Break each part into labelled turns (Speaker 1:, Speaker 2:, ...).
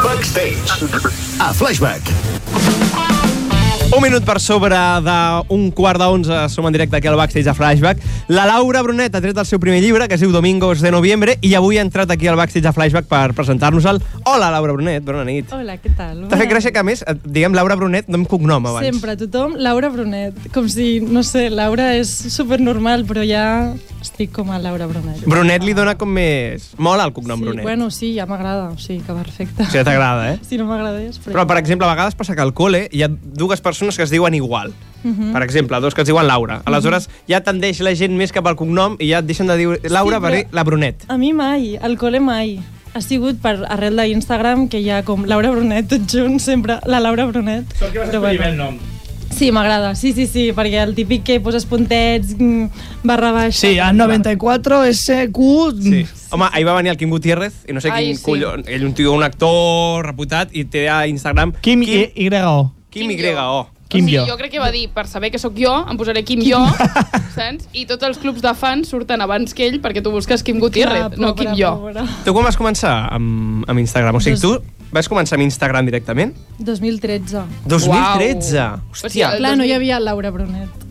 Speaker 1: Backstage. A Flashback.
Speaker 2: Un minut per sobre d'un quart d'onze, som en directe aquí al Backstage a Flashback. La Laura Brunet ha tret el seu primer llibre, que es diu Domingos de Noviembre, i avui ha entrat aquí al Backstage a Flashback per presentar-nos-el. Hola, Laura Brunet, bona nit.
Speaker 3: Hola, què tal?
Speaker 2: T'ha fet gràcia que, a més, et diguem Laura Brunet, no em cognom abans.
Speaker 3: Sempre, tothom, Laura Brunet. Com si, no sé, Laura és supernormal, però ja estic com a Laura Brunet.
Speaker 2: Brunet li dona com més... Mola el cognom
Speaker 3: sí,
Speaker 2: Brunet.
Speaker 3: Bueno, sí, ja m'agrada, o sigui que perfecte.
Speaker 2: O sigui, t'agrada, eh?
Speaker 3: Si no m'agradés...
Speaker 2: Però, per exemple, a vegades passa que al col·le hi ha dues persones que es diuen igual.
Speaker 3: Mhm.
Speaker 2: Per exemple, dos que es diuen Laura. Aleshores, ja tendeix la gent més cap al cognom i ja et deixen de dir Laura
Speaker 3: Sí,
Speaker 2: per
Speaker 3: però-
Speaker 2: dir la Brunet.
Speaker 3: A mi mai, al col·le mai. Ha sigut per arrel d'Instagram, que hi ha com Laura Brunet, tot junt, sempre la Laura Brunet. Sort que vas
Speaker 4: escollir bé el nom.
Speaker 3: Sí, m'agrada, sí, sí, sí, perquè el típic que poses puntets, mm, barra baixa...
Speaker 4: Sí, a 94 SQ...
Speaker 2: Sí. Home, ahir va venir el Quim Gutiérrez, i no sé
Speaker 3: Ai,
Speaker 2: quin
Speaker 3: sí.
Speaker 2: collon... Ell un tio, un actor reputat, i té a Instagram...
Speaker 4: Kim,
Speaker 2: Kim,
Speaker 4: Y, o
Speaker 2: Kim, oh. Y-O.
Speaker 4: Kim
Speaker 5: o sigui,
Speaker 4: Yo.
Speaker 5: jo crec que va dir, per saber que sóc jo, em posaré Kim, Jo, saps? I tots els clubs de fans surten abans que ell perquè tu busques Kim Gutiérrez, no Kim Jo.
Speaker 2: Tu quan vas començar amb, amb Instagram? O sigui, tu vas començar amb Instagram directament?
Speaker 3: 2013.
Speaker 2: 2013!
Speaker 5: O sigui,
Speaker 2: Hòstia!
Speaker 5: el
Speaker 3: Clar, no hi
Speaker 5: 2000
Speaker 3: havia Laura Brunet.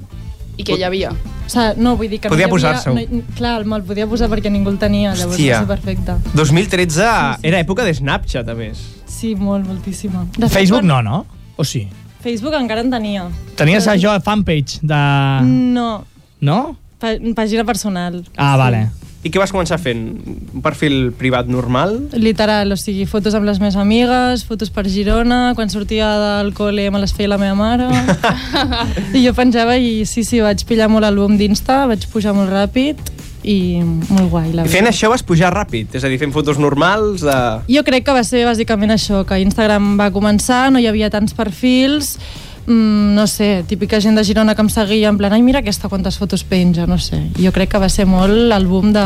Speaker 5: I que hi havia.
Speaker 3: O sigui, no, vull dir que...
Speaker 2: Podia
Speaker 3: no hi havia-
Speaker 2: posar-se-ho.
Speaker 3: No, clar, me'l podia posar perquè ningú el tenia, llavors
Speaker 2: Hòstia.
Speaker 3: Hòstia. va ser perfecte.
Speaker 2: 2013 era època de Snapchat, a més.
Speaker 3: Sí, molt, moltíssima. De fet,
Speaker 4: Facebook
Speaker 3: quan-
Speaker 4: no, no? O sí?
Speaker 3: Facebook encara en tenia.
Speaker 4: Tenies això a fanpage de...
Speaker 3: Mm. No,
Speaker 4: No?
Speaker 3: pa- pàgina personal.
Speaker 4: Ah, vale.
Speaker 2: I què vas començar fent? Un perfil privat normal?
Speaker 3: Literal, o sigui, fotos amb les meves amigues, fotos per Girona, quan sortia del col·le me les feia la meva mare. I jo penjava i sí, sí, vaig pillar molt el boom d'Insta, vaig pujar molt ràpid i molt guai, la
Speaker 2: I fent
Speaker 3: veritat.
Speaker 2: això vas pujar ràpid, és a dir, fent fotos normals de...
Speaker 3: Jo crec que va ser bàsicament això, que Instagram va començar, no hi havia tants perfils, mm, no sé, típica gent de Girona que em seguia en plan, ai mira aquesta quantes fotos penja, no sé. Jo crec que va ser molt el boom de...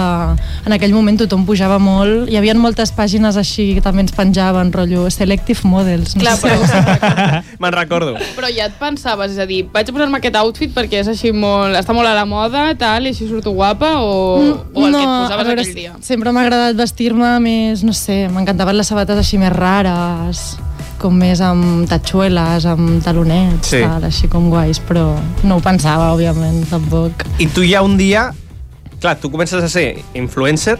Speaker 3: En aquell moment tothom pujava molt, hi havia moltes pàgines així que també ens penjaven, rotllo Selective Models. No
Speaker 5: Clar,
Speaker 3: sé.
Speaker 5: però,
Speaker 2: Me'n recordo.
Speaker 5: però ja et pensaves, és a dir, vaig a posar-me aquest outfit perquè és així molt, està molt a la moda, tal, i així surto guapa, o, o el que et
Speaker 3: Mm, a
Speaker 5: posaves
Speaker 3: veure,
Speaker 5: aquell dia.
Speaker 3: Sempre m'ha agradat vestir-me més, no sé, m'encantaven les sabates així més rares, com més amb tatxueles, amb talonets,
Speaker 2: Sí.
Speaker 3: sí. tal, així com guais, però no ho pensava, òbviament, tampoc.
Speaker 2: I tu ja un dia... Clar, tu comences a ser influencer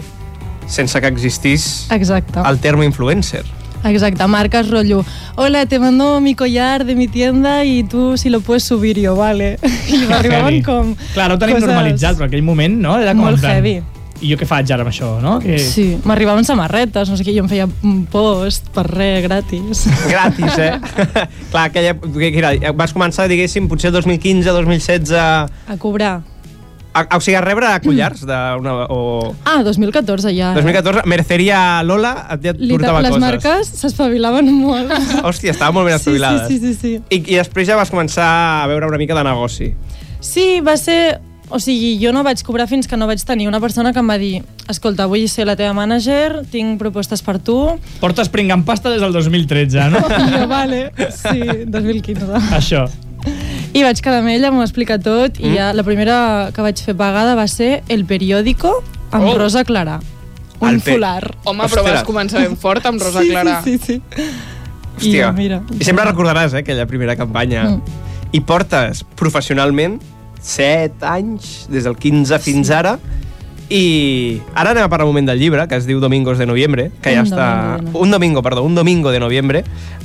Speaker 2: sense que existís
Speaker 3: Exacte.
Speaker 2: el terme influencer.
Speaker 3: Exacte, marques rollo, hola, te mando mi collar de mi tienda y tú si lo puedes subir yo, vale. I m'arribaven
Speaker 4: Heavy.
Speaker 3: com...
Speaker 4: Clar, ho tenim
Speaker 3: coses-
Speaker 4: normalitzat, però aquell moment, no? Era com
Speaker 3: Molt
Speaker 4: en plan,
Speaker 3: heavy.
Speaker 4: I jo què faig ara amb això, no? Que...
Speaker 3: Sí, m'arribaven samarretes, no sé què, jo em feia un post per res, gratis.
Speaker 2: Gratis, eh? Clar, aquella, que era, vas començar, diguéssim, potser 2015, 2016... A,
Speaker 3: A cobrar.
Speaker 2: a, o sigui, a rebre collars de una, o...
Speaker 3: Ah, 2014 ja. eh?
Speaker 2: 2014, Merceria Lola et, ja et portava
Speaker 3: Literal, les
Speaker 2: coses.
Speaker 3: marques s'espavilaven molt.
Speaker 2: Hòstia, estava molt ben espavilades.
Speaker 3: Sí, sí, sí, sí.
Speaker 2: I, I després ja vas començar a veure una mica de negoci.
Speaker 3: Sí, va ser... O sigui, jo no vaig cobrar fins que no vaig tenir una persona que em va dir escolta, vull ser la teva mànager, tinc propostes per tu.
Speaker 4: Portes pringant pasta des del 2013, no?
Speaker 3: I jo, vale, sí, 2015.
Speaker 4: això.
Speaker 3: I vaig quedar amb ella, m'ho va explicar tot, mm. i ja la primera que vaig fer pagada va ser El periòdico amb
Speaker 4: Oh.
Speaker 3: oh. Rosa Clara. Un
Speaker 2: El pe-
Speaker 3: folar.
Speaker 5: Home, però
Speaker 2: Ostres.
Speaker 5: vas començar ben fort amb Rosa
Speaker 3: sí,
Speaker 5: Clara.
Speaker 3: Sí, sí, sí.
Speaker 2: Hòstia.
Speaker 3: I mira.
Speaker 2: I sempre recordaràs, eh, aquella primera campanya. Mm. I portes professionalment 7 anys, des del 15 fins sí. ara, i ara anem a parlar un moment del llibre, que es diu Domingos de Noviembre, que ja
Speaker 3: Un
Speaker 2: està...
Speaker 3: domingo de no-
Speaker 2: Un domingo, perdó, un domingo de noviembre,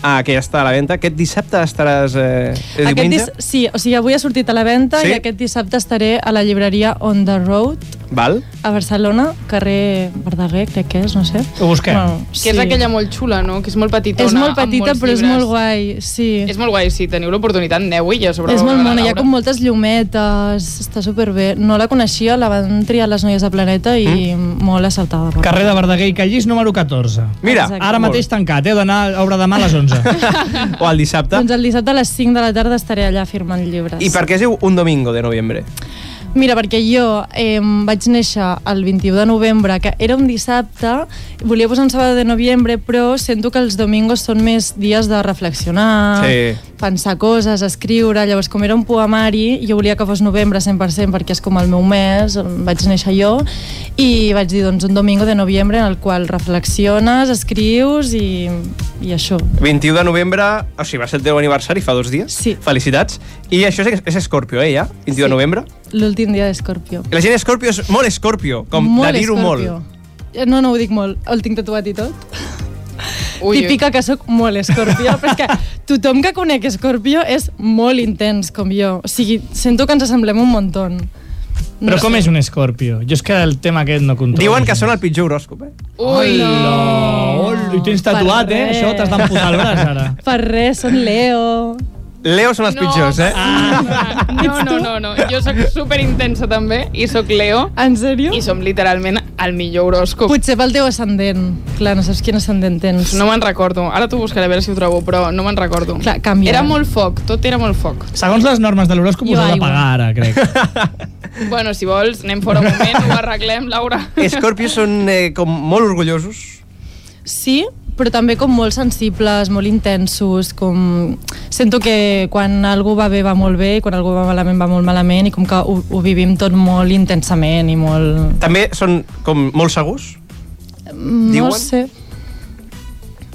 Speaker 2: eh, que ja està a la venda. Aquest dissabte estaràs... Eh, és
Speaker 3: Aquest
Speaker 2: diumenge?
Speaker 3: dis... Sí, o sigui, avui ha sortit a la venda
Speaker 2: Sí?
Speaker 3: sí? i aquest dissabte estaré a la llibreria On the Road
Speaker 2: Val?
Speaker 3: a Barcelona, carrer Verdaguer, crec que és, no sé.
Speaker 4: Ho busquem.
Speaker 5: Que és aquella molt xula, no? Que és molt petitona.
Speaker 3: És molt
Speaker 5: amb
Speaker 3: petita,
Speaker 5: molts
Speaker 3: però és
Speaker 5: llibres.
Speaker 3: molt guai, sí.
Speaker 5: És molt guai, si teniu l'oportunitat, aneu-hi. Ja
Speaker 3: És molt mona, hi ha com moltes llumetes, està superbé. No la coneixia, la van triar les noies de Planeta i mm. molt acertada. per
Speaker 4: Carrer de Verdaguer i Callís, número 14.
Speaker 2: Mira,
Speaker 3: Exacte.
Speaker 4: Ara mateix tancat, eh? Heu d'anar a obra demà a les 11.
Speaker 2: O el dissabte.
Speaker 3: Doncs el dissabte a les 5 de la tarda estaré allà firmant llibres.
Speaker 2: I per què es diu un domingo de noviembre?
Speaker 3: Mira, perquè jo eh, vaig néixer el 21 de novembre, que era un dissabte, volia posar un sábado de novembre, però sento que els domingos són més dies de reflexionar,
Speaker 2: Sí.
Speaker 3: pensar coses, escriure, llavors com era un poemari, jo volia que fos novembre 100% perquè és com el meu mes, on vaig néixer jo, i vaig dir, doncs, un domingo de novembre en el qual reflexiones, escrius i i això.
Speaker 2: 21 de novembre, o sigui, va ser el teu aniversari fa dos dies.
Speaker 3: Sí.
Speaker 2: Felicitats. I això és, és Scorpio, eh, ja? 21
Speaker 3: Sí.
Speaker 2: de novembre.
Speaker 3: L'últim dia d'Escorpio.
Speaker 2: La gent Scorpio és molt Scorpio, com de dir-ho molt.
Speaker 3: Escorpio. Eh, No, no ho dic molt. El tinc tatuat i tot. Ui,
Speaker 5: Ui, ui.
Speaker 3: Típica que sóc molt escorpió, però és que tothom que conec escorpió és molt intens com jo. O sigui, sento que ens assemblem un montón.
Speaker 4: Però
Speaker 3: No
Speaker 4: com
Speaker 3: sé.
Speaker 4: és un escorpio? Jo és que el tema aquest no controlo.
Speaker 2: Diuen que són el pitjor horòscop, eh?
Speaker 5: Ui,
Speaker 4: Oh, i tens tatuat,
Speaker 3: Per
Speaker 4: eh?
Speaker 3: res.
Speaker 4: Això t'has d'amputar el braç, ara.
Speaker 3: Per res, són Leo.
Speaker 2: Leo són els
Speaker 5: No.
Speaker 2: pitjors, eh?
Speaker 5: Ah, no, no, no, no. Jo sóc superintensa també i sóc Leo
Speaker 3: En sèrio?
Speaker 5: i som literalment el millor horòscop.
Speaker 3: Potser pel teu ascendent. Clar, no saps quin ascendent tens.
Speaker 5: No me'n recordo. Ara t'ho buscaré a veure si ho trobo, però no me'n recordo.
Speaker 3: Clar, canvia.
Speaker 5: Era molt foc, tot era molt foc.
Speaker 4: Segons les normes de l'horòscop
Speaker 3: Jo
Speaker 4: us heu de
Speaker 3: aigua.
Speaker 4: pagar, ara, crec.
Speaker 5: Bueno, si vols, anem fora un moment, ho arreglem, Laura.
Speaker 2: Ah. Scorpio són eh, com molt orgullosos.
Speaker 3: Sí, però també com molt sensibles, molt intensos, com... Sento que quan algú va bé va molt bé i quan algú va malament va molt malament i com que ho, ho vivim tot molt intensament i molt...
Speaker 2: També són com molt segurs?
Speaker 3: No
Speaker 2: Diuen?
Speaker 3: sé,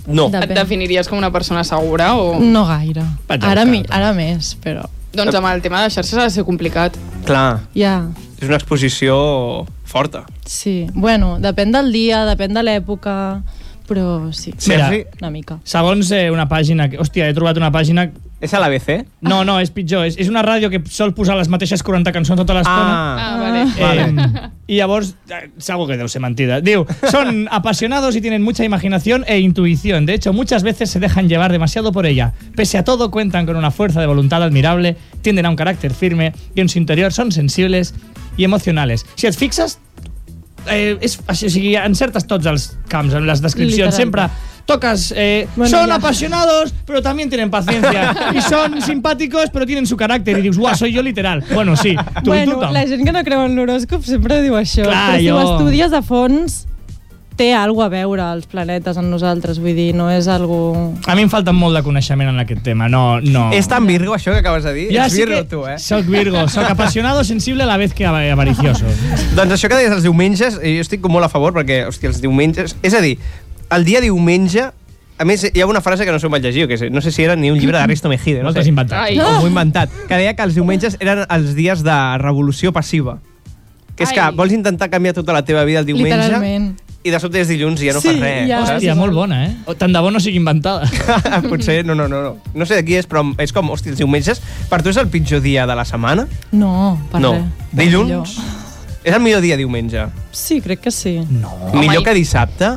Speaker 2: No.
Speaker 3: De-
Speaker 5: Et definiries com una persona segura o...
Speaker 3: no gaire.
Speaker 4: Vaig a
Speaker 3: Ara,
Speaker 4: buscar-ho.
Speaker 3: mi, ara més, però...
Speaker 5: Doncs amb el tema de xarxes ha de ser complicat.
Speaker 2: Clar,
Speaker 3: Ja,
Speaker 2: és una exposició forta.
Speaker 3: sí. Bueno, depèn del dia, depèn de l'època, però sí,
Speaker 2: Sí,
Speaker 4: Mira.
Speaker 2: sí.
Speaker 3: una mica.
Speaker 4: Segons eh, una pàgina... que- Hòstia, he trobat una pàgina...
Speaker 2: És a l'ABC?
Speaker 4: No, no, és pitjor. És, és una ràdio que sol posar les mateixes 40 cançons tota l'estona.
Speaker 5: Ah, vale.
Speaker 4: Eh, y a vos, eh, es algo que debe ser mentira. Digo, son apasionados y tienen mucha imaginación e intuición. De hecho, muchas veces se dejan llevar demasiado por ella. Pese a todo, cuentan con una fuerza de voluntad admirable, tienden a un carácter firme y en su interior son sensibles y emocionales. Si et fixes, eh, és, així, o sigui, encertes tots els camps, en les descripcions,
Speaker 3: Literal.
Speaker 4: sempre tocas, eh,
Speaker 3: Bueno,
Speaker 4: son
Speaker 3: ya.
Speaker 4: apasionados, pero también tienen paciencia. y son simpáticos, pero tienen su carácter. Y dius, guau, soy yo literal. Bueno, sí, tu i
Speaker 3: bueno,
Speaker 4: tothom.
Speaker 3: la gent que no creu en l'horòscop sempre diu això, però
Speaker 4: Clar,
Speaker 3: si
Speaker 4: jo-
Speaker 3: ho estudies a fons té alguna a veure els planetes en nosaltres, vull dir, no és algo...
Speaker 4: A mi em falta molt de coneixement en aquest tema, no... no.
Speaker 2: És tan Virgo, això que acabes de dir? Ets
Speaker 4: sí
Speaker 2: Virgo,
Speaker 4: que
Speaker 2: tu, eh?
Speaker 4: Soc Virgo, soc apasionado, sensible a la vez que ava- avaricioso.
Speaker 2: Doncs això que deies els diumenges, eh, jo estic com molt a favor perquè, hòstia, els diumenges... És a dir, el dia diumenge... A més, hi ha una frase que no se'm vaig llegir, que és- no sé si era ni un llibre d'Aristo Mejide, no
Speaker 4: No
Speaker 2: sé.
Speaker 4: t'has inventat.
Speaker 5: Ai.
Speaker 2: O m'ho
Speaker 3: Ah!
Speaker 2: he inventat. Que deia que els diumenges eren els dies de revolució passiva. Que és que
Speaker 5: Ai.
Speaker 2: vols intentar canviar tota la teva vida el diumenge
Speaker 3: Literalment.
Speaker 2: i de sobte és dilluns i ja no
Speaker 3: Sí,
Speaker 2: fas res.
Speaker 3: ja.
Speaker 2: saps?
Speaker 4: Hòstia, molt bona, eh? O, Tant de bo no sigui inventada.
Speaker 2: Potser, no, no, no, no. No sé de qui és, però és com, hòstia, els diumenges, per tu és el pitjor dia de la setmana?
Speaker 3: No, per
Speaker 2: no.
Speaker 3: res.
Speaker 2: Dilluns? És el millor dia diumenge.
Speaker 3: Ah. Sí, crec que sí.
Speaker 4: No.
Speaker 2: millor
Speaker 5: i-
Speaker 2: que dissabte?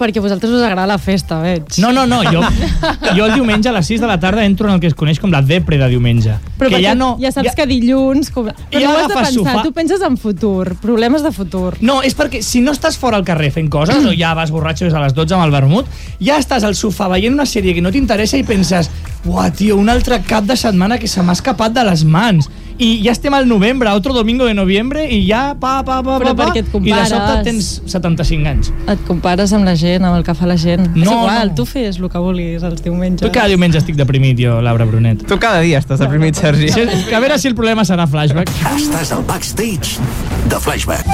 Speaker 3: Perquè a vosaltres us agrada la festa, veig.
Speaker 4: No, no, no, jo, jo el diumenge a les 6 de la tarda entro en el que es coneix com la depre de diumenge.
Speaker 3: Però
Speaker 4: que
Speaker 3: perquè
Speaker 4: ja no...
Speaker 3: ja saps ja... que dilluns... Com... Però
Speaker 4: ja
Speaker 3: no ho has de
Speaker 4: agafes
Speaker 3: pensar,
Speaker 4: sofà.
Speaker 3: tu penses en futur, problemes de futur.
Speaker 4: No, és perquè si no estàs fora al carrer fent coses, o ja vas borratxo des de les 12 amb el vermut, ja estàs al sofà veient una sèrie que no t'interessa i penses uah, tio, un altre cap de setmana que se m'ha escapat de les mans. I ja estem al novembre, otro domingo de novembre, i ja pa, pa, pa,
Speaker 3: Però
Speaker 4: pa, pa
Speaker 3: perquè et
Speaker 4: i de
Speaker 3: compares.
Speaker 4: sobte tens 75 anys.
Speaker 3: Et compares amb la gent, amb el que fa la gent.
Speaker 4: No,
Speaker 3: és igual,
Speaker 4: no.
Speaker 3: tu fes el que vulguis els diumenges.
Speaker 4: Tu cada diumenge estic deprimit, jo, Laura Brunet.
Speaker 2: Tu cada dia estàs deprimit, Sergi.
Speaker 4: Si, que a veure si el problema serà flashback.
Speaker 1: Estàs al backstage de Flashback.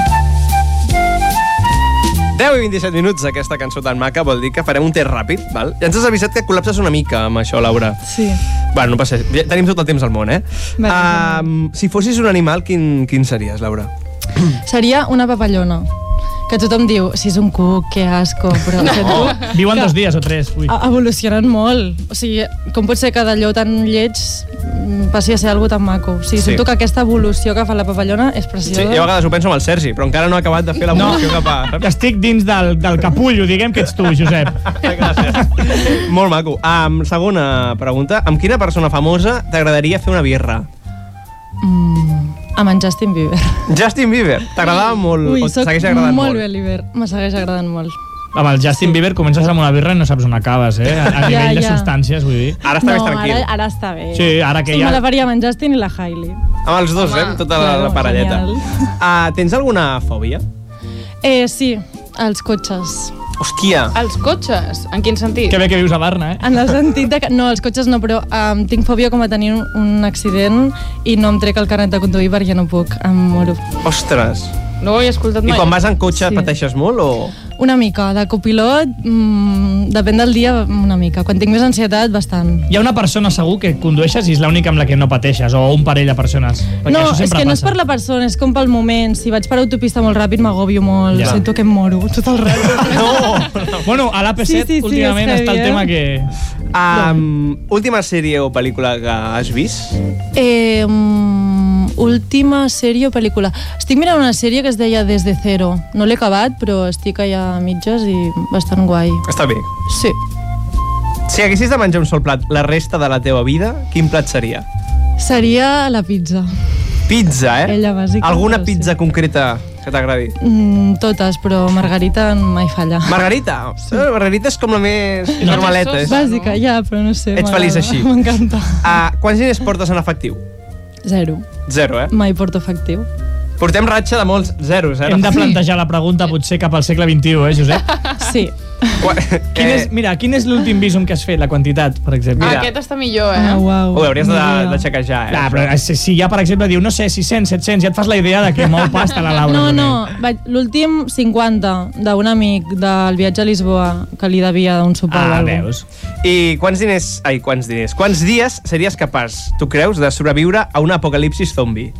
Speaker 2: 10 i 27 minuts d'aquesta cançó tan maca vol dir que farem un test ràpid, val? Ja ens has avisat que col·lapses una mica amb això, Laura.
Speaker 3: Sí.
Speaker 2: Bueno, no passa, ja tenim tot el temps al món, eh?
Speaker 3: Vale,
Speaker 2: um, si fossis un animal, quin, quin series, Laura?
Speaker 3: Seria una papallona que tothom diu, si és un cuc, que asco, però no. que tu
Speaker 4: Viuen dos dies o tres. Ui.
Speaker 3: a- evolucionen molt. O sigui, com pot ser que d'allò tan lleig mm, passi a ser algo tan maco? O
Speaker 2: Sí.
Speaker 3: sigui, sí. sento que aquesta evolució que fa la papallona és
Speaker 2: Sí,
Speaker 3: preciosa.
Speaker 2: jo a vegades ho penso amb el Sergi, però encara no ha acabat de fer l'evolució no. cap a...
Speaker 4: Ja estic dins del, del capullo, diguem que ets tu, Josep.
Speaker 2: Gràcies. Molt maco. Um, segona pregunta. Amb quina persona famosa t'agradaria fer una birra?
Speaker 3: Mm, Amb en Justin Bieber.
Speaker 2: Justin Bieber. T'agradava molt?
Speaker 3: Ui,
Speaker 2: o
Speaker 3: soc
Speaker 2: segueix agradant
Speaker 3: molt
Speaker 2: molt?
Speaker 3: bé Bieber. Me segueix agradant molt.
Speaker 4: Amb el Justin Bieber comences amb una birra i no saps on acabes, eh? A, a
Speaker 3: Ja,
Speaker 4: nivell de
Speaker 3: ja.
Speaker 4: substàncies, vull dir.
Speaker 2: Ara està
Speaker 3: no,
Speaker 2: més tranquil.
Speaker 3: Ara, ara està bé.
Speaker 4: Sí, ara que
Speaker 3: sí,
Speaker 4: ja-
Speaker 3: Me la faria amb en Justin i la Hailey.
Speaker 2: Amb els dos,
Speaker 5: Home,
Speaker 2: eh? Amb tota la,
Speaker 3: claro,
Speaker 2: la parelleta.
Speaker 3: genial.
Speaker 2: Uh, tens alguna fòbia?
Speaker 3: Eh, sí, els cotxes.
Speaker 2: Hòstia.
Speaker 5: Els cotxes, en quin sentit?
Speaker 4: Que bé que vius a Barna, eh?
Speaker 3: En el sentit de que... No, els cotxes no, però um, tinc fòbia com a tenir un, un accident i no em trec el carnet de conduir perquè no puc, em moro.
Speaker 2: Ostres.
Speaker 5: No ho he escoltat
Speaker 2: I
Speaker 5: mai.
Speaker 2: quan vas en cotxe
Speaker 3: Sí.
Speaker 2: pateixes molt o...?
Speaker 3: Una mica, de copilot, mm, depèn del dia, una mica. Quan tinc més ansietat, bastant.
Speaker 4: Hi ha una persona segur que condueixes i és l'única amb la que no pateixes, o un parell de persones. Perquè
Speaker 3: no,
Speaker 4: això
Speaker 3: és que
Speaker 4: sempre
Speaker 3: no és
Speaker 4: passa.
Speaker 3: per la persona, és com pel moment. Si vaig per autopista molt ràpid, m'agòbio molt.
Speaker 4: Ja.
Speaker 3: Ja. Sento que em moro tot el rato.
Speaker 4: No! bueno, a l'AP7
Speaker 3: Sí, sí, sí,
Speaker 4: últimament
Speaker 3: és heavy,
Speaker 4: està el
Speaker 3: eh?
Speaker 4: tema que...
Speaker 2: Um, última sèrie o pel·lícula que has vist?
Speaker 3: Eh, mm, última sèrie o pel·lícula. Estic mirant una sèrie que es deia Des de Cero. No l'he acabat, però estic allà a mitges i bastant guai.
Speaker 2: Està bé.
Speaker 3: Sí.
Speaker 2: Si haguessis de menjar un sol plat la resta de la teva vida, quin plat seria?
Speaker 3: Seria la pizza.
Speaker 2: Pizza, eh?
Speaker 3: Ella, bàsica,
Speaker 2: Alguna
Speaker 3: però
Speaker 2: pizza
Speaker 3: sí.
Speaker 2: concreta que t'agradi?
Speaker 3: Mm, totes, però Margarita mai falla.
Speaker 2: Margarita. Sí. Margarita és com la més
Speaker 5: No
Speaker 2: normaleta.
Speaker 5: té
Speaker 2: és.
Speaker 5: sos.
Speaker 3: Bàsica, ja, però no sé.
Speaker 2: Eh. Ets feliç
Speaker 3: m'agrada.
Speaker 2: així.
Speaker 3: M'encanta.
Speaker 2: Ah, quants diners portes en efectiu?
Speaker 3: Zero.
Speaker 2: Zero, eh?
Speaker 3: Mai porto efectiu.
Speaker 2: Portem ratxa de molts zeros, eh?
Speaker 4: Hem de plantejar la pregunta potser cap al segle XXI, eh, Josep?
Speaker 3: Sí.
Speaker 2: Qua-
Speaker 4: Quin és, mira, quin és l'últim visum que has fet, la quantitat, per exemple?
Speaker 2: Eh.
Speaker 5: Ah,
Speaker 2: Mira.
Speaker 5: aquest està millor, eh?
Speaker 3: Ah, uau.
Speaker 2: Ho hauries de,
Speaker 3: Ni idea.
Speaker 2: de xequejar, eh?
Speaker 4: Ah, però si, si ja, per exemple, diu, no sé, 600, 700, ja et fas la idea de que mou pasta la Laura.
Speaker 3: No,
Speaker 4: també.
Speaker 3: no, vaig- l'últim 50 d'un amic del viatge a Lisboa que li devia d'un sopar
Speaker 4: Ah,
Speaker 3: o alguna
Speaker 4: veus.
Speaker 2: I quants diners... Ai, quants diners? Quants dies series capaç, tu creus, de sobreviure a un apocalipsis zombi?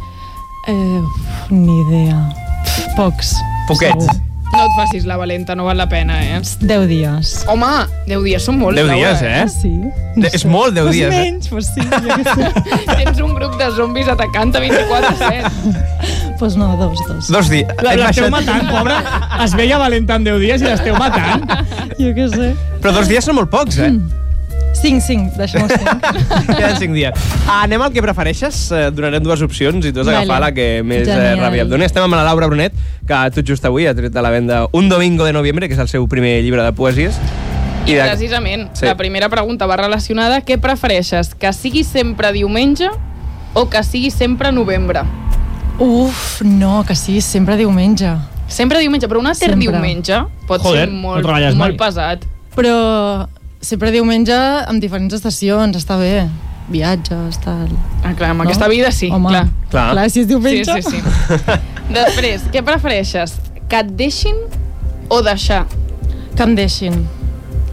Speaker 3: Eh, uf, ni idea. Pf, Pocs.
Speaker 2: Poquets.
Speaker 3: segur.
Speaker 5: No et facis la valenta, no val la pena, eh?
Speaker 3: 10 dies. Ah,
Speaker 5: Home, 10 dies són molts,
Speaker 2: 10 dies, eh?
Speaker 3: Sí.
Speaker 2: De- és molt, 10 dies, eh?
Speaker 3: Menys, pues sí. jo què sé.
Speaker 4: eh?
Speaker 5: Tens un grup de zombis atacant-te 24-7.
Speaker 3: pues no, dos, dos.
Speaker 2: Dos dies.
Speaker 4: La- L'esteu matant, pobra. Es veia valenta en 10 dies i l'esteu matant.
Speaker 3: Jo què sé.
Speaker 2: Però dos dies són molt pocs, eh? Mm.
Speaker 3: 5, 5, deixem-ho 5.
Speaker 2: Queden cinc dies. Anem al que prefereixes. Eh, Donarem dues opcions i tu has
Speaker 3: Vale.
Speaker 2: d'agafar la que més eh,
Speaker 3: Genial.
Speaker 2: ràbia et doni. Estem amb la Laura Brunet, que tot just avui ha tret de la venda Un domingo de noviembre, que és el seu primer llibre de poesies.
Speaker 5: I precisament,
Speaker 2: Sí.
Speaker 5: sí. la primera pregunta va relacionada. Què prefereixes, que sigui sempre diumenge o que sigui sempre novembre?
Speaker 3: Uf, no, que sí, sempre diumenge.
Speaker 5: Sempre diumenge, però un alter
Speaker 3: Sempre.
Speaker 5: diumenge pot
Speaker 4: Joder,
Speaker 5: ser
Speaker 4: no
Speaker 5: molt,
Speaker 4: treballes
Speaker 5: molt
Speaker 4: mai.
Speaker 5: pesat.
Speaker 3: Però sempre diumenge amb diferents estacions, està bé. Viatges, tal.
Speaker 5: Ah, clar, amb
Speaker 3: No?
Speaker 5: no? aquesta vida sí,
Speaker 3: Home,
Speaker 5: clar.
Speaker 2: Clar.
Speaker 3: clar, si és
Speaker 5: Sí,
Speaker 3: diumenge...
Speaker 5: sí, sí. Després, què prefereixes? Que et deixin o deixar?
Speaker 3: Que em deixin.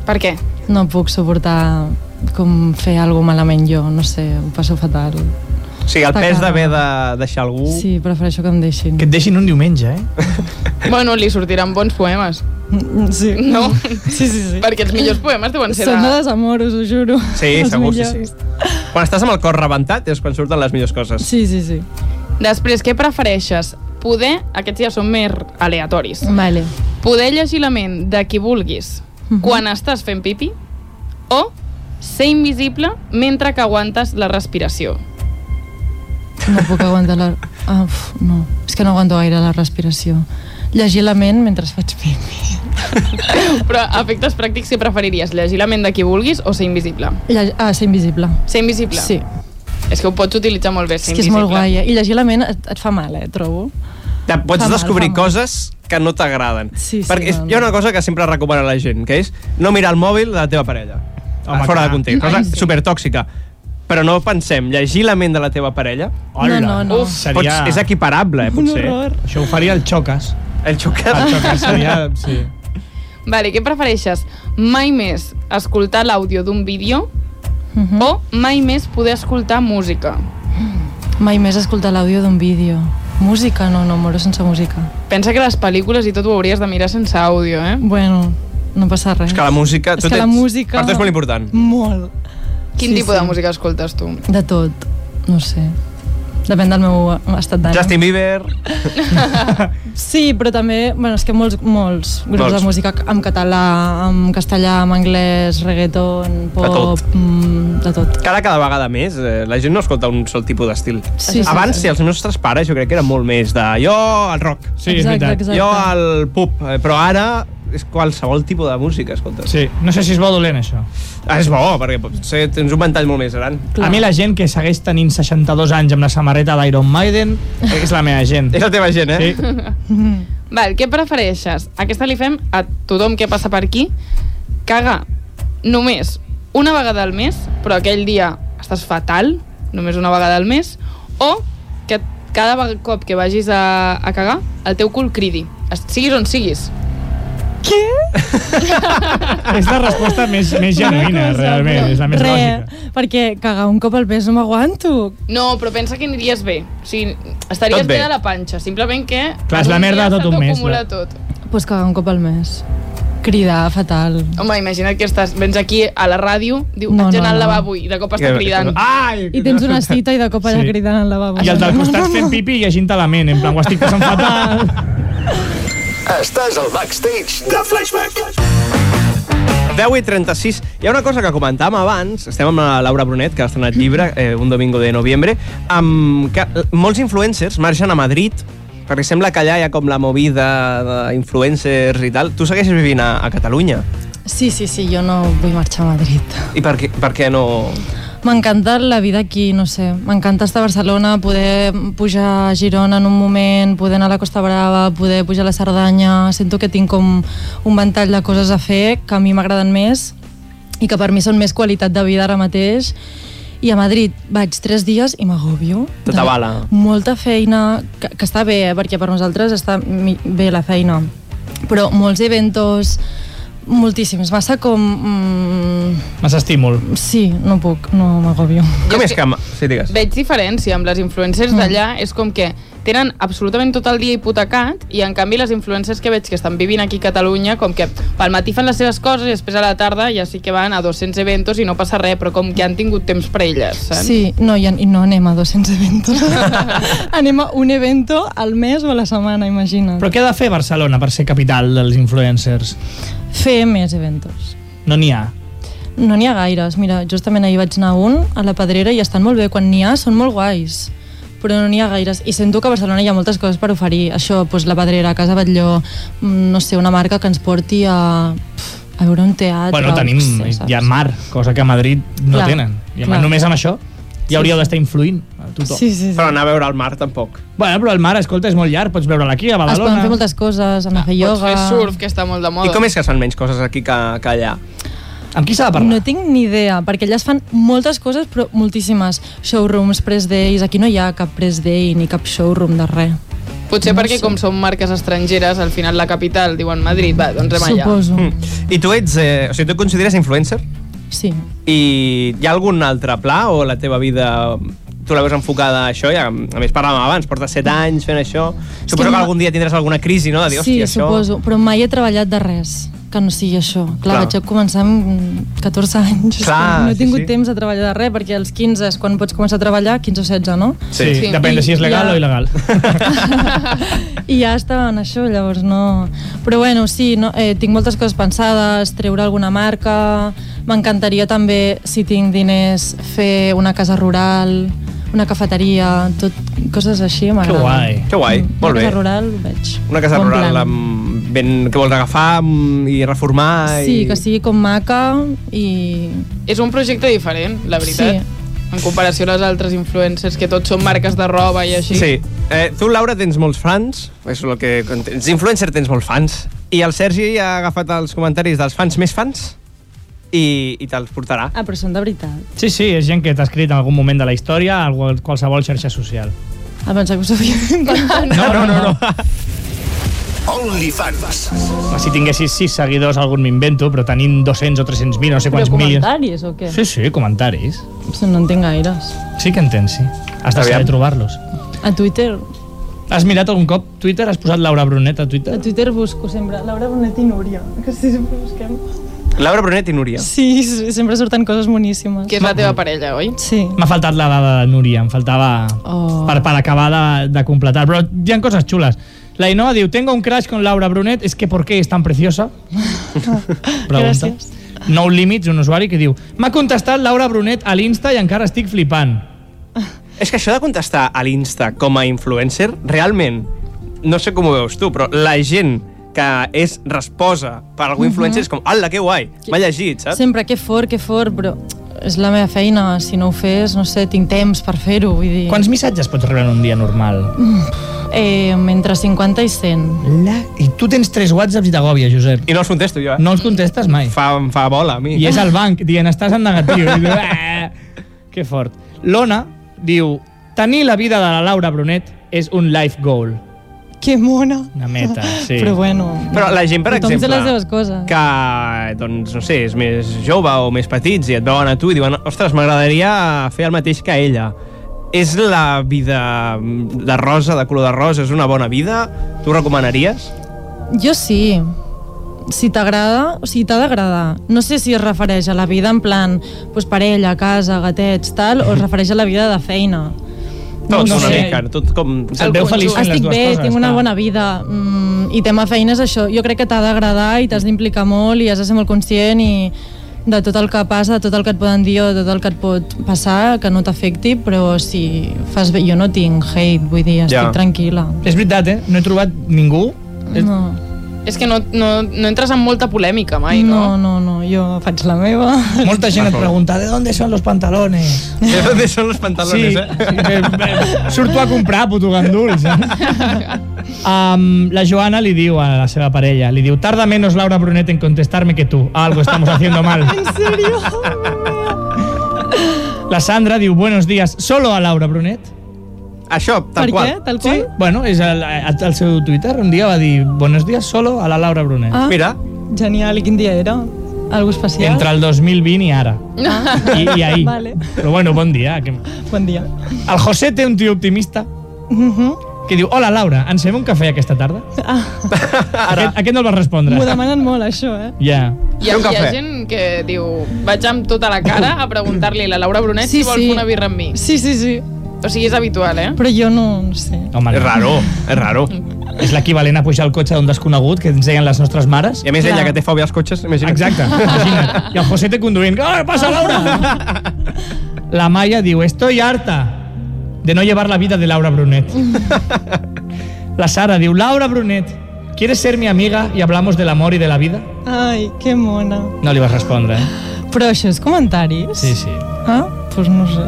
Speaker 5: Per què?
Speaker 3: No puc suportar com fer alguna malament jo, no sé, ho passo fatal.
Speaker 2: O sigui, el
Speaker 3: Està
Speaker 2: pes
Speaker 3: cara.
Speaker 2: d'haver de deixar algú...
Speaker 3: Sí, prefereixo que em deixin.
Speaker 4: Ah, Que et deixin un diumenge, eh?
Speaker 5: Bueno, li sortiran bons poemes,
Speaker 3: Mm, Sí.
Speaker 5: no?
Speaker 3: Sí, sí, sí.
Speaker 5: Perquè els millors poemes deuen ser
Speaker 3: Són de desamor, us ho juro.
Speaker 2: Sí,
Speaker 3: Els
Speaker 2: segur, sí, sí.
Speaker 3: millors.
Speaker 2: Quan estàs amb el cor rebentat és quan surten les millors coses.
Speaker 3: Sí, sí, sí.
Speaker 5: Després, què prefereixes? Poder, aquests ja són més aleatoris,
Speaker 3: Vale.
Speaker 5: poder llegir la ment de qui vulguis
Speaker 3: Mhm.
Speaker 5: quan estàs fent pipi o ser invisible mentre que aguantes la respiració.
Speaker 3: No puc aguantar la... Ah, uf, no. És que no aguanto gaire la respiració. Llegir la ment mentre faig pipi.
Speaker 5: Però a efectes pràctics, si preferiries llegir la ment de qui vulguis o ser invisible?
Speaker 3: Lleg... Ah, ser invisible.
Speaker 5: Ser invisible?
Speaker 3: Sí.
Speaker 5: És que ho pots utilitzar molt bé,
Speaker 3: És
Speaker 5: ser
Speaker 3: que és
Speaker 5: invisible.
Speaker 3: molt guai, eh? I llegir la ment et, et fa mal, eh? Trobo.
Speaker 2: Ja, pots
Speaker 3: Fa mal,
Speaker 2: descobrir
Speaker 3: fa mal.
Speaker 2: coses que no t'agraden.
Speaker 3: Sí, sí,
Speaker 2: Perquè és,
Speaker 3: no, no.
Speaker 2: hi ha una cosa que sempre recomana la gent, que és no mirar el mòbil de la teva parella. Home,
Speaker 4: Home,
Speaker 2: fora
Speaker 4: clar.
Speaker 2: de context. Cosa
Speaker 5: Ai, sí.
Speaker 2: supertòxica. Però no pensem, llegir la ment de la teva parella
Speaker 4: Hola.
Speaker 3: No, no, no.
Speaker 4: Uf, seria...
Speaker 2: pots, és equiparable, eh, potser.
Speaker 4: Això ho faria el Xocas.
Speaker 2: El
Speaker 4: El
Speaker 2: xocat.
Speaker 4: Xocas seria... Sí.
Speaker 5: Vale, què prefereixes? Mai més escoltar l'àudio d'un vídeo
Speaker 3: Uh -huh.
Speaker 5: o mai més poder escoltar música?
Speaker 3: Mai més escoltar l'àudio d'un vídeo. Música? No, no, moro sense música.
Speaker 5: Pensa que les pel·lícules i tot ho hauries de mirar sense àudio, eh?
Speaker 3: Bueno, no passa res.
Speaker 2: És que la música...
Speaker 3: És
Speaker 2: tu
Speaker 3: que la
Speaker 2: tens-
Speaker 3: música-
Speaker 2: Per tu és molt important.
Speaker 3: Molt.
Speaker 5: Quin tipus de música escoltes tu?
Speaker 3: De tot, no ho sé. Depèn del meu estat d'ànim.
Speaker 2: Justin Bieber...
Speaker 3: Sí, però també, bueno, és que molts, molts grups
Speaker 2: Molts.
Speaker 3: de música en català, en castellà, en anglès, reggaeton, pop,
Speaker 2: tot.
Speaker 3: Mm, de tot.
Speaker 2: Cada, cada vegada més, eh, la gent no escolta un sol tipus d'estil.
Speaker 3: Sí, sí,
Speaker 2: Abans,
Speaker 3: sí.
Speaker 2: si els nostres pares, jo crec que era molt més de... Jo, el rock.
Speaker 4: Sí, és
Speaker 3: Exacte,
Speaker 4: veritat.
Speaker 3: exacte.
Speaker 2: Jo, el pop. Eh, Però ara és qualsevol tipus de música, escolta.
Speaker 4: Sí. No sé si és bo o dolent, això.
Speaker 2: Ah, és bo, perquè potser tens un ventall molt més gran.
Speaker 4: Clar. A mi la gent que segueix tenint 62 anys amb la samarreta d'Iron Maiden és la meva gent.
Speaker 2: És la teva gent, eh?
Speaker 4: Sí.
Speaker 5: Val, què prefereixes? Aquesta li fem a tothom que passa per aquí. Cagar només una vegada al mes, però aquell dia estàs fatal, només una vegada al mes, o que cada veg- cop que vagis a, a cagar, el teu cul cridi. Es- Siguis on siguis.
Speaker 3: Què?
Speaker 4: És la resposta més, més genuïna, realment. És la més
Speaker 3: Re,
Speaker 4: lògica.
Speaker 3: perquè cagar un cop al pes no m'aguanto.
Speaker 5: No, però pensa que aniries bé. O sigui, estaries
Speaker 2: Tot bé.
Speaker 5: bé. de la panxa. Simplement que...
Speaker 4: Clar, és la
Speaker 5: en un
Speaker 4: merda
Speaker 5: dia
Speaker 4: de tot
Speaker 5: se
Speaker 4: un mes,
Speaker 5: t'acumula
Speaker 4: va.
Speaker 5: tot.
Speaker 3: Doncs pues cagar un cop al mes. Cridar, fatal.
Speaker 5: Home, imagina't que estàs, vens aquí a la ràdio, diu,
Speaker 3: No,
Speaker 5: no, haig
Speaker 3: no,
Speaker 5: d'anar al
Speaker 3: no.
Speaker 5: lavabo i de cop està cridant.
Speaker 4: Ah, Ai!
Speaker 3: I tens una cita i de cop allà
Speaker 4: Sí.
Speaker 3: sí. cridant al lavabo.
Speaker 4: I el del costat fent pipi i llegint-te la ment, en plan, ho estic passant fatal.
Speaker 1: Estàs al backstage de Flashback.
Speaker 2: 10 i 36. Hi ha una cosa que comentàvem abans, estem amb la Laura Brunet, que ha estrenat llibre eh, un domingo de novembre, amb que eh, molts influencers marxen a Madrid perquè sembla que allà hi ha com la movida d'influencers i tal. Tu segueixes vivint a, a Catalunya.
Speaker 3: Sí, sí, sí, jo no vull marxar a Madrid.
Speaker 2: I per què, per què no...
Speaker 3: M'encanta la vida aquí, no sé. M'encanta estar a Barcelona, poder pujar a Girona en un moment, poder anar a la Costa Brava, poder pujar a la Cerdanya... Sento que tinc com un ventall de coses a fer que a mi m'agraden més i que per mi són més qualitat de vida ara mateix. I a Madrid vaig tres dies i m'agobio.
Speaker 2: Te
Speaker 3: De
Speaker 2: t'abala.
Speaker 3: Molta feina, que, que està bé, eh, perquè per nosaltres està mi- bé la feina. Però molts eventos, moltíssims. Massa com... Mm,
Speaker 4: Massa estímul.
Speaker 3: Sí, no puc, no m'agobio.
Speaker 2: Com
Speaker 5: és
Speaker 2: és
Speaker 5: que-
Speaker 2: que... ma- Sí, digues.
Speaker 5: Veig diferència amb les influencers
Speaker 3: Mm.
Speaker 5: d'allà, és com que tenen absolutament tot el dia hipotecat i en canvi les influencers que veig que estan vivint aquí a Catalunya com que pel matí fan les seves coses i després a la tarda ja sí que van a 200 eventos i no passa res, però com que han tingut temps per elles, saps?
Speaker 3: Sí, no, i, i no anem a 200 eventos. anem a un evento al mes o a la setmana, imagina't.
Speaker 4: Però què ha de fer Barcelona per ser capital dels influencers?
Speaker 3: Fer més eventos.
Speaker 4: No n'hi ha.
Speaker 3: No n'hi ha gaires. Mira, justament ahir vaig anar a un, a la Pedrera, i estan molt bé. Quan n'hi ha, són molt guais. Però no n'hi ha gaires. I sento que a Barcelona hi ha moltes coses per oferir. Això, doncs, la Pedrera, Casa Batlló, mm, no sé, una marca que ens porti a, pf, a veure un teatre.
Speaker 4: Bueno,
Speaker 3: o
Speaker 4: tenim,
Speaker 3: jo què sé,
Speaker 4: hi ha
Speaker 3: saps?
Speaker 4: mar, cosa que a Madrid no
Speaker 3: Clar,
Speaker 4: tenen. I a
Speaker 3: clar.
Speaker 4: mar, només amb això ja hauríeu d'estar influint a tothom.
Speaker 3: Sí, sí, sí.
Speaker 2: Però anar a veure el mar tampoc.
Speaker 4: Bueno, però el mar, escolta, és molt llarg, pots veure'l aquí, a
Speaker 3: Es
Speaker 4: Badalona.
Speaker 3: poden fer moltes coses, anar a fer
Speaker 5: Pots
Speaker 3: ioga...
Speaker 5: fer surf, que està molt de moda.
Speaker 2: I com és que es fan menys coses aquí que, que allà?
Speaker 4: Amb qui s'ha de parlar?
Speaker 3: No tinc ni idea, perquè allà es fan moltes coses, però moltíssimes. Showrooms, press days, aquí no hi ha cap press day ni cap showroom de res.
Speaker 5: Potser
Speaker 3: No sé.
Speaker 5: perquè com són marques estrangeres, al final la capital diuen Madrid, va, doncs anem allà.
Speaker 3: Suposo.
Speaker 2: Mm. I tu ets... Eh, o sigui, tu et consideres influencer?
Speaker 3: Sí.
Speaker 2: I hi ha algun altre pla o la teva vida tu la veus enfocada a això? Ja, a més, parlàvem abans, portes 7 anys fent això. Suposo que
Speaker 3: no-
Speaker 2: algun dia tindràs alguna crisi, no? De dir,
Speaker 3: sí,
Speaker 2: "Hòstia, això...
Speaker 3: suposo, però mai he treballat de res que no sigui això. Clar,
Speaker 2: Clar.
Speaker 3: vaig començar amb 14 anys.
Speaker 2: Clar,
Speaker 3: no he
Speaker 2: sí,
Speaker 3: tingut
Speaker 2: sí.
Speaker 3: temps de treballar de res, perquè als 15 és quan pots començar a treballar, 15 o 16, no?
Speaker 4: Sí,
Speaker 5: Sí.
Speaker 4: depèn de si és legal
Speaker 3: Ja.
Speaker 4: o il·legal.
Speaker 3: I ja estava en això, llavors no... Però bueno, sí, no, eh, tinc moltes coses pensades, treure alguna marca... M'encantaria també, si tinc diners, fer una casa rural, una cafeteria, tot coses així
Speaker 4: Que
Speaker 3: m'agrada.
Speaker 4: guai.
Speaker 2: Que guai,
Speaker 3: Mm,
Speaker 2: molt
Speaker 3: una
Speaker 2: bé.
Speaker 3: casa rural, ho veig.
Speaker 2: Una casa
Speaker 3: Bon
Speaker 2: rural
Speaker 3: plan.
Speaker 2: amb ben, que vols agafar mm, i reformar
Speaker 3: Sí,
Speaker 2: i...
Speaker 3: que sigui com maca i...
Speaker 5: És un projecte diferent, la veritat.
Speaker 3: Sí.
Speaker 5: En comparació a les altres influencers, que tots són marques de roba i així.
Speaker 2: Sí. Eh, tu, Laura, tens molts fans, és el que... Ets influencer, tens molts fans. I el Sergi ha agafat els comentaris dels fans més fans i, i te'ls portarà.
Speaker 3: Ah, però són de veritat.
Speaker 4: Sí, sí, és gent que t'ha escrit en algun moment de la història a qual- qualsevol xarxa social.
Speaker 3: Ah, pensava que us havia inventat.
Speaker 4: No, no, no. no.
Speaker 1: OnlyFans.
Speaker 4: Home, Si tinguessis sis seguidors, algun m'invento, però tenint 200 o 300 mil, no sé
Speaker 3: Però
Speaker 4: quants milions...
Speaker 3: comentaris o què?
Speaker 4: Sí, sí, comentaris.
Speaker 3: Sí. No en tinc gaires.
Speaker 4: Sí que entens, sí. Has de
Speaker 2: Aviam.
Speaker 4: saber trobar-los.
Speaker 3: A Twitter?
Speaker 4: Has mirat algun cop Twitter? Has posat Laura Brunet
Speaker 3: A
Speaker 4: a Twitter?
Speaker 3: Twitter busco sempre Laura Bonet i Núria, que sí, sempre busquem.
Speaker 2: Laura Brunet i Núria.
Speaker 3: Sí, sí, sempre surten coses boníssimes.
Speaker 5: Que és la teva parella, oi?
Speaker 3: Sí.
Speaker 4: M'ha faltat la dada de Núria, em faltava
Speaker 3: Oh.
Speaker 4: per, per acabar de, de completar. Però hi ha coses xules. La Inoa diu, tengo un crush con Laura Brunet, es que por qué es tan preciosa? Pregunta.
Speaker 3: Gràcies.
Speaker 4: Nou límits, un usuari que diu, m'ha contestat Laura Brunet a l'Insta i encara estic flipant.
Speaker 2: És que això de contestar a l'Insta com a influencer, realment, no sé com ho veus tu, però la gent que és resposa per
Speaker 3: Mhm.
Speaker 2: algú influencer és com, ala, que guai, m'ha llegit, saps?
Speaker 3: Sempre, que fort, que fort, però és la meva feina. Si no ho fes, no sé, tinc temps per fer-ho, vull dir...
Speaker 4: Quants missatges pots rebre en un dia normal?
Speaker 3: Eh, entre 50 i 100.
Speaker 4: La... I tu tens tres whatsapps i t'agòbia, Josep.
Speaker 2: I no els contesto jo, eh?
Speaker 4: No els contestes mai.
Speaker 2: Fa, em fa bola a mi.
Speaker 4: I és al banc, dient, estàs en negatiu. I diu, "Ah". que fort. L'Ona diu, tenir la vida de la Laura Brunet és un life goal.
Speaker 3: Que mona.
Speaker 4: Una meta, sí.
Speaker 3: Però bueno...
Speaker 2: Però la gent, per
Speaker 3: tothom
Speaker 2: exemple,
Speaker 3: té les seves coses.
Speaker 2: que, doncs, no sé, és més jove o més petits i et veuen a tu i diuen ostres, m'agradaria fer el mateix que ella. És la vida de rosa, de color de rosa, és una bona vida? Tu ho recomanaries?
Speaker 3: Jo sí. Si t'agrada, o sigui, t'ha d'agradar. No sé si es refereix a la vida en plan pues, parella, casa, gatets, tal, o es refereix a la vida de feina.
Speaker 2: Tot,
Speaker 3: no ho
Speaker 2: una
Speaker 3: sé.
Speaker 2: mica, tot com...
Speaker 4: Se't veu feliç fent les
Speaker 3: Estic
Speaker 4: dues
Speaker 3: bé,
Speaker 4: coses.
Speaker 3: tinc una
Speaker 4: clar.
Speaker 3: bona vida. Mm, I tema feina és això. Jo crec que t'ha d'agradar i t'has d'implicar molt i has de ser molt conscient i de tot el que passa, de tot el que et poden dir o de tot el que et pot passar, que no t'afecti, però si fas bé... Jo no tinc hate, vull dir, estic
Speaker 2: Ja.
Speaker 3: tranquil·la.
Speaker 4: És veritat, eh? No he trobat ningú.
Speaker 3: No,
Speaker 5: És que no, no, no entres en molta polèmica mai,
Speaker 3: no,
Speaker 5: no?
Speaker 3: no, no, jo faig la meva.
Speaker 4: Molta gent et
Speaker 2: D'acord.
Speaker 4: pregunta de dónde son los pantalones.
Speaker 2: De dónde son los pantalones,
Speaker 4: sí,
Speaker 2: eh?
Speaker 4: eh, eh, surto a comprar, puto gandul, saps? Um, la Joana li diu a la seva parella, li diu, tarda menos Laura Brunet en contestarme que tú, algo estamos haciendo mal.
Speaker 3: En serio?
Speaker 4: La Sandra diu, buenos días, solo a Laura Brunet.
Speaker 2: Això, tal
Speaker 3: per
Speaker 2: qual.
Speaker 3: què? Tal
Speaker 4: Sí,
Speaker 3: qual?
Speaker 4: bueno, és el, el seu Twitter, un dia va dir, buenos días, solo a la Laura Brunet.
Speaker 3: Ah,
Speaker 2: Mira,
Speaker 3: Genial, i quin dia era? Algo especial?
Speaker 4: Entre el 2020 i ara. I, i ahir.
Speaker 3: Vale.
Speaker 4: Però bueno, bon dia. Que...
Speaker 3: Bon dia.
Speaker 4: El José té un tio optimista
Speaker 3: Uh -huh.
Speaker 4: que diu, hola Laura, ens fem un cafè aquesta tarda?
Speaker 3: ah,
Speaker 4: Aquest, aquest no el vas respondre.
Speaker 3: M'ho demanen molt, això, eh?
Speaker 4: Ja.
Speaker 5: Hi ha,
Speaker 2: Fer un
Speaker 5: hi ha
Speaker 2: cafè.
Speaker 5: gent que diu vaig amb tota la cara a preguntar-li a la Laura Brunet
Speaker 3: Sí,
Speaker 5: si vol
Speaker 3: sí.
Speaker 5: fer una birra amb mi.
Speaker 3: Sí, sí, sí.
Speaker 5: O sigui, és habitual, eh?
Speaker 3: Però jo no, no sé.
Speaker 4: Home,
Speaker 2: és
Speaker 4: no.
Speaker 2: raro, és raro.
Speaker 4: És l'equivalent a pujar al cotxe d'un desconegut que ens deien les nostres mares.
Speaker 2: I a més,
Speaker 3: Clar.
Speaker 2: ella que té fòbia als cotxes, imagina't.
Speaker 4: Exacte, imagina't. I el José te conduint. Ah, passa, Laura! La Maya diu, estoy harta de no llevar la vida de Laura Brunet. La Sara diu, Laura Brunet, ¿quieres ser mi amiga y hablamos del amor y de la vida?
Speaker 3: Ai, que mona.
Speaker 4: No li vas respondre, eh?
Speaker 3: Però això és comentaris?
Speaker 4: Sí, sí.
Speaker 3: Ah, doncs pues no sé.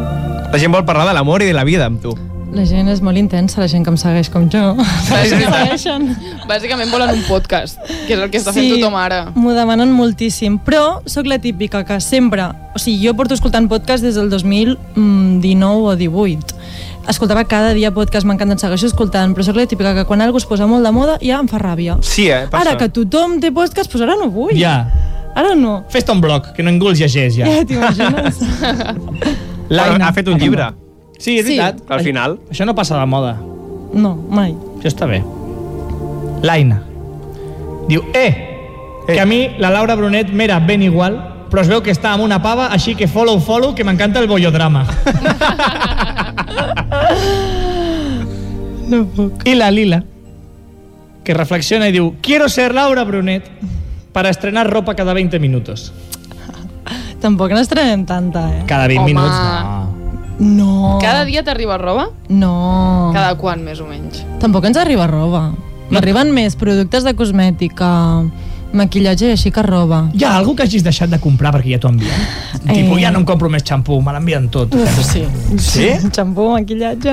Speaker 2: La gent vol parlar de l'amor i de la vida amb tu.
Speaker 3: La gent és molt intensa, la gent que em segueix com jo.
Speaker 5: Sí,
Speaker 3: Em
Speaker 5: sí.
Speaker 3: segueixen.
Speaker 5: Bàsicament volen un podcast, que és el que està fent tothom ara.
Speaker 3: M'ho demanen moltíssim, però sóc la típica que sempre... O sigui, jo porto escoltant podcast des del 2019 o 18. Escoltava cada dia podcast, m'encanta, en segueixo escoltant, però sóc la típica que quan algú es posa molt de moda ja em fa ràbia.
Speaker 2: Sí, eh? Passa.
Speaker 3: Ara que tothom té podcast, doncs ara no vull.
Speaker 4: Ja.
Speaker 3: Ara no.
Speaker 4: Fes-te un blog, que no ningú els llegeix, ja.
Speaker 3: Ja, t'imagines?
Speaker 2: Però ha fet un llibre,
Speaker 4: Sí, és
Speaker 3: Sí.
Speaker 4: veritat.
Speaker 2: al final.
Speaker 4: Això no passa de moda.
Speaker 3: No, mai.
Speaker 4: Això està bé. L'Aina. Diu, eh, que a mi la Laura Brunet m'era ben igual, però es veu que està amb una pava, així que follow, follow, que m'encanta el bollodrama.
Speaker 3: No puc.
Speaker 4: I la Lila, que reflexiona i diu, quiero ser Laura Brunet para estrenar ropa cada 20 minutos.
Speaker 3: Tampoc n'estrenem tanta, eh?
Speaker 4: Cada 20
Speaker 5: Home.
Speaker 4: minuts, no.
Speaker 3: No.
Speaker 5: Cada dia t'arriba roba?
Speaker 3: No.
Speaker 5: Cada quan, més o menys?
Speaker 3: Tampoc ens arriba roba. M'arriben més productes de cosmètica, maquillatge i així que roba.
Speaker 4: Hi ha algú que hagis deixat de comprar perquè ja t'ho envien? Eh. Tipo, ja no em compro més xampú, me l'envien tot.
Speaker 3: Sí.
Speaker 4: Sí?
Speaker 3: Xampú, maquillatge,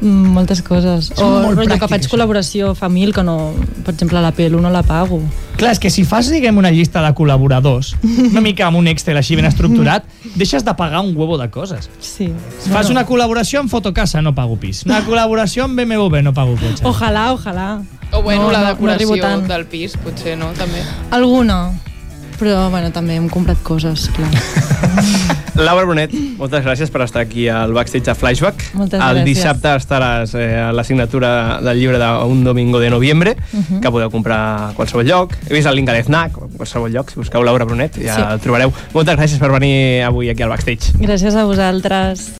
Speaker 3: mm, moltes coses.
Speaker 4: Són
Speaker 3: o
Speaker 4: molt
Speaker 3: rotllo que
Speaker 4: pràctiques,
Speaker 3: faig
Speaker 4: eh?
Speaker 3: col·laboració fa mil que no, per exemple, la pelo no la pago.
Speaker 4: Clar, és que si fas, diguem, una llista de col·laboradors, una mica amb un Excel així ben estructurat, deixes de pagar un huevo de coses.
Speaker 3: Sí.
Speaker 4: Fas una col·laboració amb Fotocasa, no pago pis. Una col·laboració amb BMW, no pago cotxe.
Speaker 3: Ojalà, ojalà.
Speaker 5: O bueno,
Speaker 3: No,
Speaker 5: no, la
Speaker 3: no, no
Speaker 5: decoració
Speaker 3: arribo tant.
Speaker 5: no del pis, potser, no? També.
Speaker 3: Alguna. Però, bueno, també hem comprat coses, clar.
Speaker 2: Laura Brunet, moltes gràcies per estar aquí al backstage de Flashback.
Speaker 3: Moltes
Speaker 2: el
Speaker 3: gràcies.
Speaker 2: dissabte estaràs eh, a la signatura del llibre de Un domingo de noviembre,
Speaker 3: Uh-huh.
Speaker 2: que podeu comprar a qualsevol lloc. He vist el link a l'FNAC, a qualsevol lloc, si busqueu Laura Brunet ja
Speaker 3: Sí.
Speaker 2: el trobareu. Moltes gràcies per venir avui aquí al backstage.
Speaker 3: Gràcies a vosaltres.